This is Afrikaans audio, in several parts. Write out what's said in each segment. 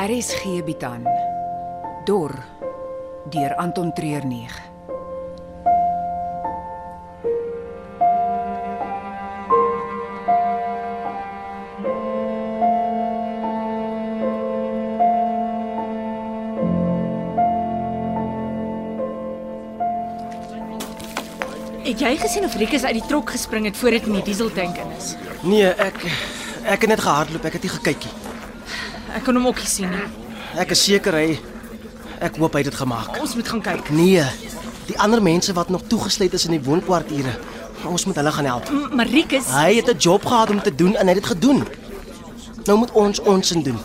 RSG bied aan Dor deur Anton Treuer 9. Het jy gesien of Rikus uit die trok gespring het voor dit in die dieseltank in is? Nee, ek ek het net gehardloop, ek het nie gekyk nie. Ek kon hom ook nie sien nie. Ek is seker hy ek hoop hy het dit gemaak. Ons moet gaan kyk. Nee, die ander mense wat nog toegesluit is in die woonkwartiere, ons moet hulle gaan help. M- Maar Rikus, Hy het 'n job gehad om te doen en hy het dit gedoen. Nou moet ons ons in doen.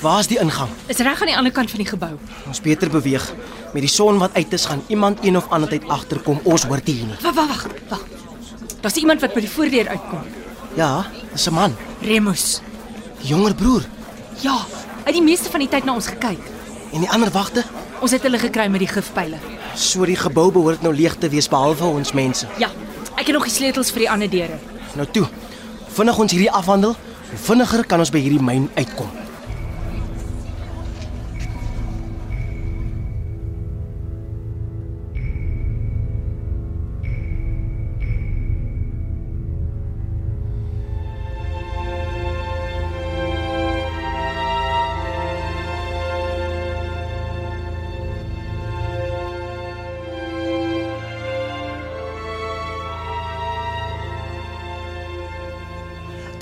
Waar's die ingang? is reg aan die ander kant van die gebou. Ons beter beweeg. Met die son wat uit is, gaan iemand een of ander tyd agterkom. Ons hoort dit hier nie. Wag, wag, wag, wag. Daar's iemand wat by die voordeur uitkom. Ja, dis 'n man, Remus. die jonger broer. Ja, hy het die meeste van die tyd na ons gekyk. En die ander wagte, Ons het hulle gekry met die gifpyle. so die gebou behoort nou leeg te wees behalwe ons mense. Ja, ek het nog die sleutels vir die ander deure. Nou toe. Vinnig ons hierdie afhandel, hoe vinniger kan ons by hierdie myn uitkom.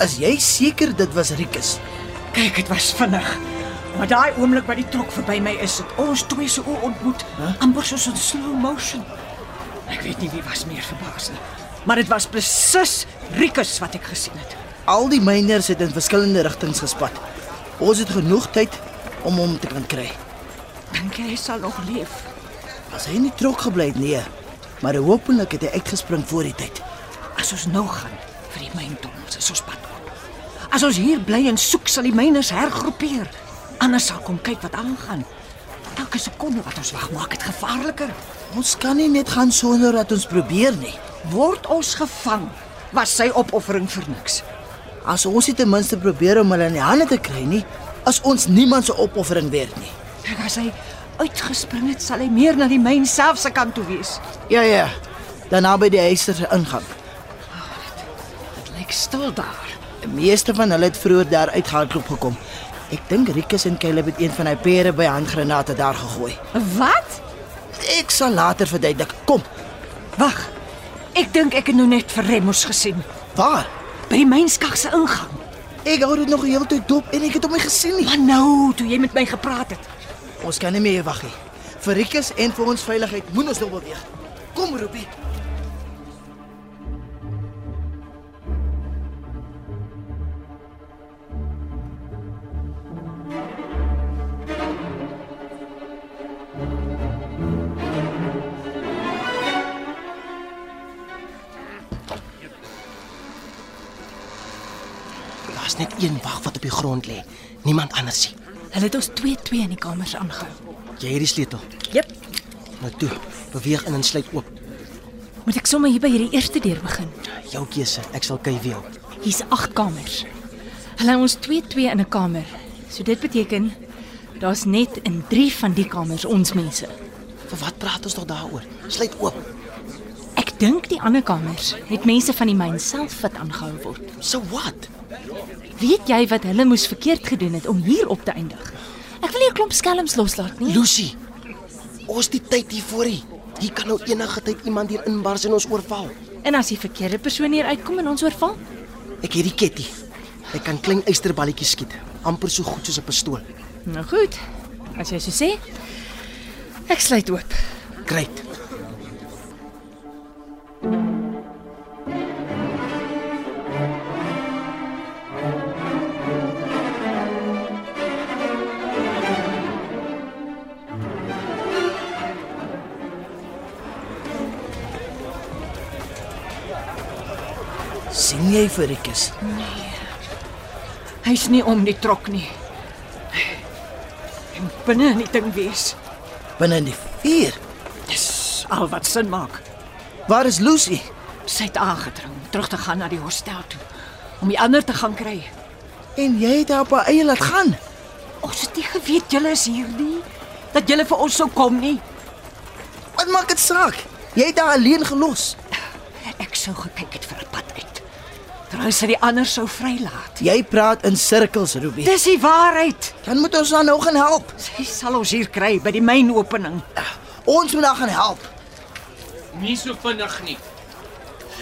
Is jy seker dit was Rikus? Kyk, dit was vinnig. Maar daai oomblik wat die trok verby my is, het ons twee se oë ontmoet, huh? amper soos in slow motion. Ek weet nie wie was meer verbaas nie, maar dit was presies Rikus wat ek gesien het. Al die myners het in verskillende rigtings gespat. Ons het genoeg tyd om hom te kan kry. Dink jy hy sal nog leef? As hy nie trok gebly het nie, maar hopelik het hy uitgespring voor die tyd. As ons nou gaan vir die myntunnels, is ons pad op. As ons hier bly en soek, sal die myners hergroepeer. Anders sal kom kyk wat aangaan. Elke sekonde wat ons wag, maak dit gevaarliker. Ons kan nie net gaan sonder dat ons probeer nie. Word ons gevang, was sy opoffering vir niks. As ons dit ten minste probeer om hulle in die hande te kry nie, as ons niemand se opoffering werd nie. Kyk, as hy uitgespring het, sal hy meer na die myn self se kant toe wees. Ja ja. Daarna by die eister se ingang. Dit lyk stil daar. Die meeste van hulle het vroeër daar uitgehardloop gekom. Ek dink Rikus en Caleb het een van hy pere by handgranate daar gegooi. Wat? Ek sal later verduidelik. Kom. Wag. Ek dink ek het nou net vir Remus gesien Waar? by die mynskag se ingang. Ek hou dit nog die hele tyd dop en ek het hom nie gesien nie. Maar nou, toe jy met my gepraat het. Ons kan nie meer wag nie. Vir Rikus en vir ons veiligheid moet ons nou beweeg. Kom, Ruby. Daar's net een wag wat op die grond lê. Niemand anders nie. Hulle het ons twee twee in die kamers aangehou. Jy het die sleutel. Jep. Nou toe, beweeg in en sluit oop. Moet ek sommer hier by hierdie eerste deur begin? Jou keuse. Ek sal kyk wie. help. Hier's agt kamers. Hulle het ons twee twee in 'n kamer. So dit beteken daar's net in 3 van die kamers ons mense. Vir wat praat ons tog daaroor? Sluit oop. Ek dink die ander kamers het mense van die myn self wat aangehou word. So what? Weet jy wat hulle moes verkeerd gedoen het om hier op te eindig? Ek wil nie 'n klomp skelms loslaat nie. Lucy. Ons die tyd hier voor hier. Hier kan nou enige tyd iemand hier inbars en ons oorval. En as die verkeerde persoon hier uitkom en ons oorval? Ek het die ketty. Ek kan klein eysterballetjies skiet, amper so goed soos 'n pistool. Nou goed. As jy so sê. Ek sluit oop. Great. sien jy vir Rikus? Hy's nie om die trok nie. Hy moet binne in die ding wees. Binne in die vuur. Dis al wat sin maak. Waar is Lucy? Sy het aangedring om terug te gaan na die hostel toe om die ander te gaan kry. En jy het haar op haar eie laat gaan. Ons het nie geweet julle is hier nie. Dat julle vir ons sou kom nie. Wat maak dit saak? Jy het haar alleen gelos. Ek sou gekyk het vir 'n pad uit. Terwyl sy die ander sou vrylaat. Jy praat in sirkels, Ruby. Dis die waarheid. Dan moet ons haar nou gaan help. Sy sal ons hier kry by die mynopening. Ons moet haar gaan help. Nie so vinnig nie.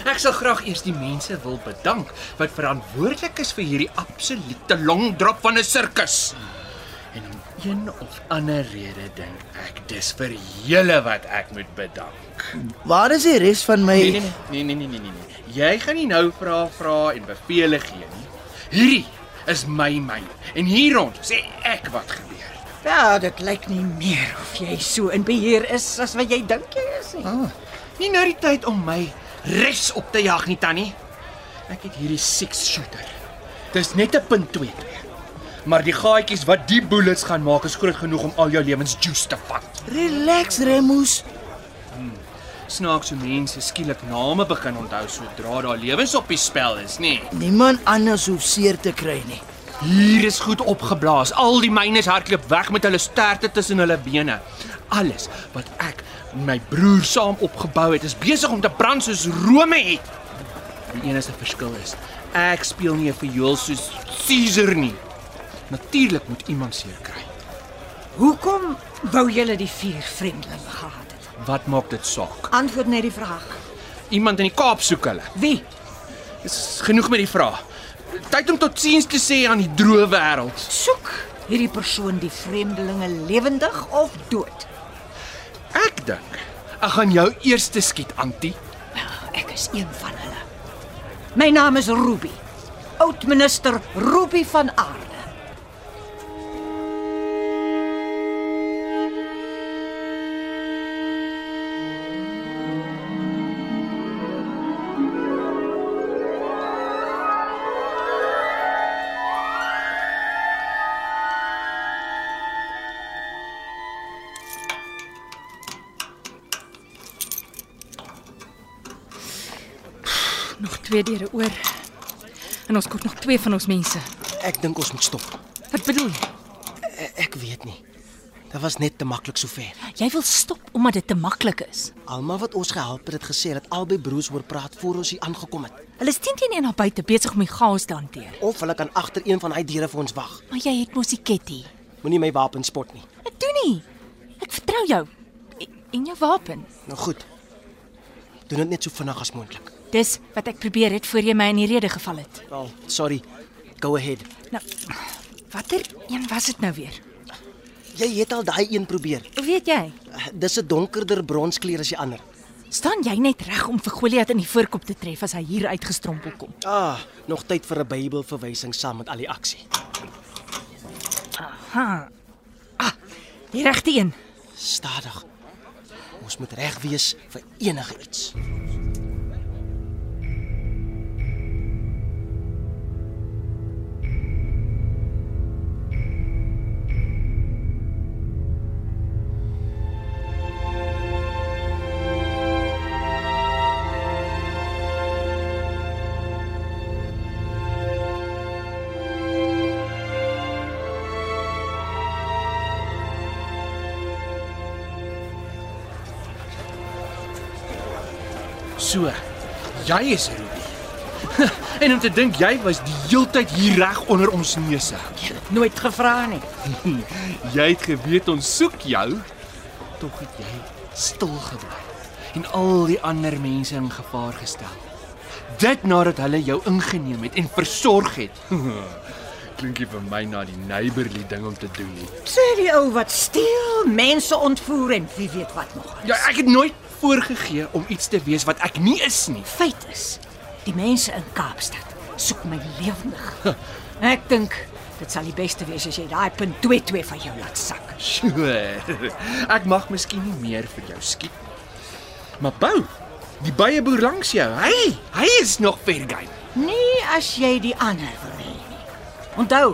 Ek sal graag eers die mense wil bedank wat verantwoordelik is vir hierdie absolute longdrop van 'n sirkus. En om een of ander rede dink ek dis vir julle wat ek moet bedank. Waar is die res van my? Nee nee nee nee nee nee nee. nee. Jy gaan nie nou vra vra en beveel gee nie. Hierdie is my myn en hier rond sê ek wat gebeur. Ja, dit lyk nie meer of jy so in beheer is as wat jy dink jy is nie. Nie nou die tyd om my res op te jag nie, Tannie. Ek het hierdie six shooter. Dis net 'n punt 22. Maar die gaatjies wat die bullets gaan maak is groot genoeg om al jou lewens juice te vat. Relax, Remus. Snaaks hoe mense skielik name begin onthou sodra daar lewens op die spel is, nê? Niemand anders hoef seer te kry nie. Hier is goed opgeblaas. Al die mynes hardloop weg met hulle sterte tussen hulle bene. Alles wat ek en my broer saam opgebou het, is besig om te brand soos Rome het. Die enigste verskil is, ek speel nie 'n viool soos Caesar nie. Natuurlik moet iemand seer kry. Hoekom wou julle die vier vreemdelinge gehad het? Wat maak dit saak? Antwoord net die vraag. Iemand in die Kaap soek hulle. Wie? Dis genoeg met die vraag. Tyd om totsiens te sê aan die droë wêreld. Soek hierdie persoon die vreemdelinge lewendig of dood? Ek dink ek gaan jou eerste skiet, Antie. Ek is een van hulle. My naam is Ruby. Oudminister Ruby van Aarde. Nog twee deure oor. En ons kort nog twee van ons mense. Ek dink ons moet stop. Wat bedoel jy? E- Ek weet nie. Dit was net te maklik sover. Jy wil stop omdat dit te maklik is. Almal wat ons gehelp het, het gesê dat albei broers hoor praat voor ons hier aangekom het. Hulle is teen teen een na buite besig om die chaos te hanteer. Of hulle kan agter een van daai deure vir ons wag. Maar jy het mos die ketty. Moenie my wapen spot nie. Ek doen nie. Ek vertrou jou. En- En jou wapen. Nou goed. Doen dit net so vinnig as moontlik. Dis wat ek probeer het voor jy my in die rede geval het. Wel, sorry. Go ahead. Nou, watter een was dit nou weer? Jy het al daai een probeer. Hoe weet jy? Dis 'n donkerder bronskleur as die ander. Staan jy net reg om vir Goliat in die voorkop te tref as hy hier uitgestrompel kom? Ah, nog tyd vir 'n Bybelverwysing saam met al die aksie. Ha. Ah, die regte een. Stadig. Ons moet reg wees vir enige iets. So, jy is er, Ruby. en om te dink jy was die heeltyd hier reg onder ons neuse. Nooit gevra nie. Jy het geweet ons soek jou. Tog het jy stil gebly en al die ander mense in gevaar gestel. Dit nadat hulle jou ingeneem het en versorg het. Klinkie vir my na die neighborly ding om te doen nie. Sê die ou wat steel, mense ontvoer en wie weet wat nog. Ja, ek het nooit voorgegee om iets te wees wat ek nie is nie. Feit is, die mense in Kaapstad soek my lewendig. Ek dink dit sal die beste wees as jy daai punt 22 van jou laat sak. Sure. Ek mag miskien nie meer vir jou skiet nie. Maar Bou, die byeboer langs jou. Hy, hy is nog vergyn. Nee, as jy die ander wil hê nie. Onthou,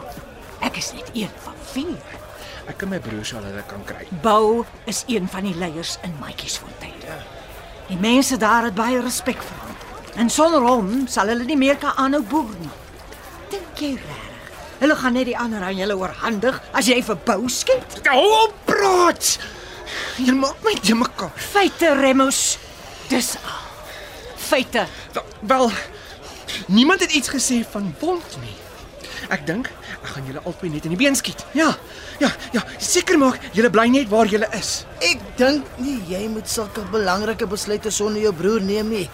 ek is net een van vier. Ek en my broer sal hulle kan kry. Bou is een van die leiers in Maatjiesfontein. Ja. Die mense daar het baie respek vir hom. En sonder hom sal hulle nie meer kan aanhou boer nie. Dink jy regtig Hulle gaan net die ander aan julle oorhandig as jy vir bou skiet. Hou op praat. Jy maak my te mekaar. Feite Remus. Dis al. Feite. Wel, niemand het iets gesê van wond nie. Ek dink ek gaan julle albei net in die been skiet. Ja. Ja, ja, seker maak julle bly net waar julle is. Ek dink nie jy moet sulke belangrike besluite sonder jou broer neem nie.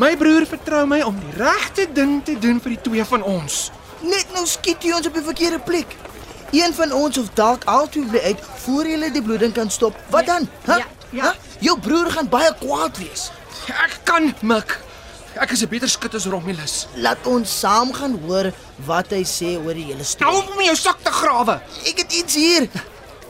My broer vertrou my om die regte ding te doen vir die twee van ons. Net nou skiet jy ons op die verkeerde plek. Een van ons of dalk albei bly uit voor jy die bloeding kan stop. Wat dan? Hæ? Ja, ja. Hæ? Jou broer gaan baie kwaad wees. Ek kan mik. Ek is 'n beter skut as Romulus. Laat ons saam gaan hoor wat hy sê oor die hele Hou storie. op Nou om in jou sak te grawe. Ek het iets hier.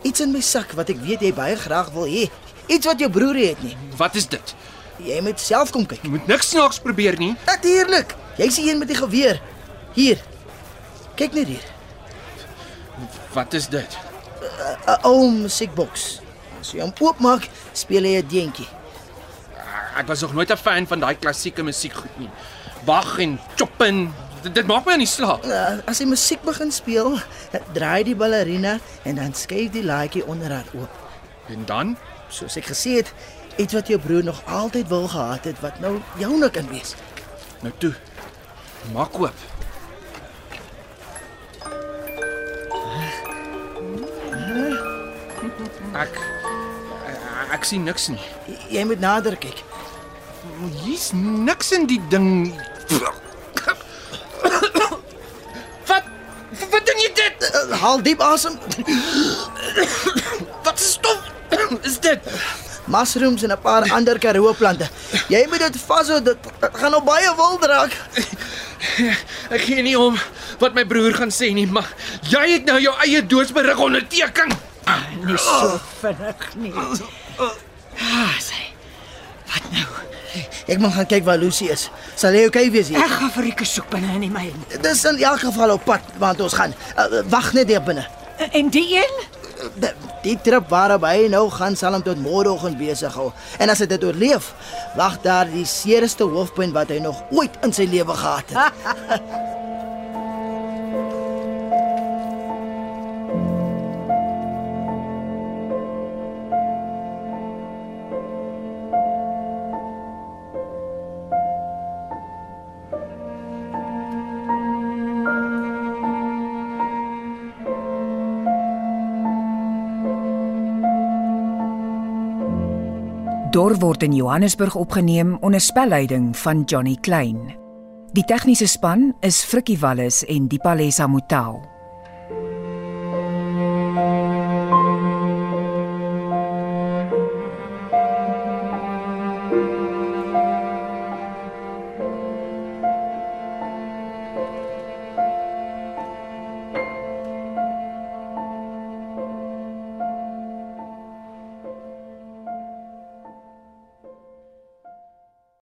Iets in my sak wat ek weet jy baie graag wil hê. Iets wat jou broer nie het nie. Wat is dit? Jy moet self kom kyk. Jy moet niks snaaks probeer nie. Natuurlik. Jy's die een met die geweer. Hier. Kyk net hier. Wat is dit? 'n Ou musiekboks. As jy hom oopmaak, speel hy 'n deentjie. Ek was nog nooit 'n fan van daai klassieke musiekgoed nie. Bach en Chopin. Dit, dit maak my aan die slaap. Uh, as die musiek begin speel, draai die ballerina en dan skuif die laaitjie onder haar oop. En dan Soos ek gesê het, iets wat jou broer nog altyd wil gehad het wat nou joune kan wees. nou toe. Maak oop. Ek ek sien niks nie. Jy moet nader kyk. Oh, Hier's niks in die ding. Wat wat doen jy dit? Uh, haal diep asem. Wat is stof? Is dit? Mushrooms en 'n paar ander karoo plante. Jy moet dit vashou. Dit dit gaan nou baie wild raak. Ek gee nie om wat my broer gaan sê nie, maar jy het nou jou eie doodsberig onderteken. Nie so vinnig nie. Ah, sê. Wat nou? Ek moet gaan kyk waar Lucy is. Sal hy okay wees hier? Ek gaan vir Rikus soek binne in die myn. Dis in elk geval op pad want ons gaan. Uh, Wag net daar binne. En die een? D- Die trip waarop hy nou gaan sal hom tot môreoggend besig hou. En as hy dit oorleef, wag daar die seerste hoofpyn wat hy nog ooit in sy lewe gehad het. Dor word in Johannesburg opgeneem onder spelleiding van Johnny Klein. Die tegniese span is Frikkie Wallis en Dipalesa Motelo.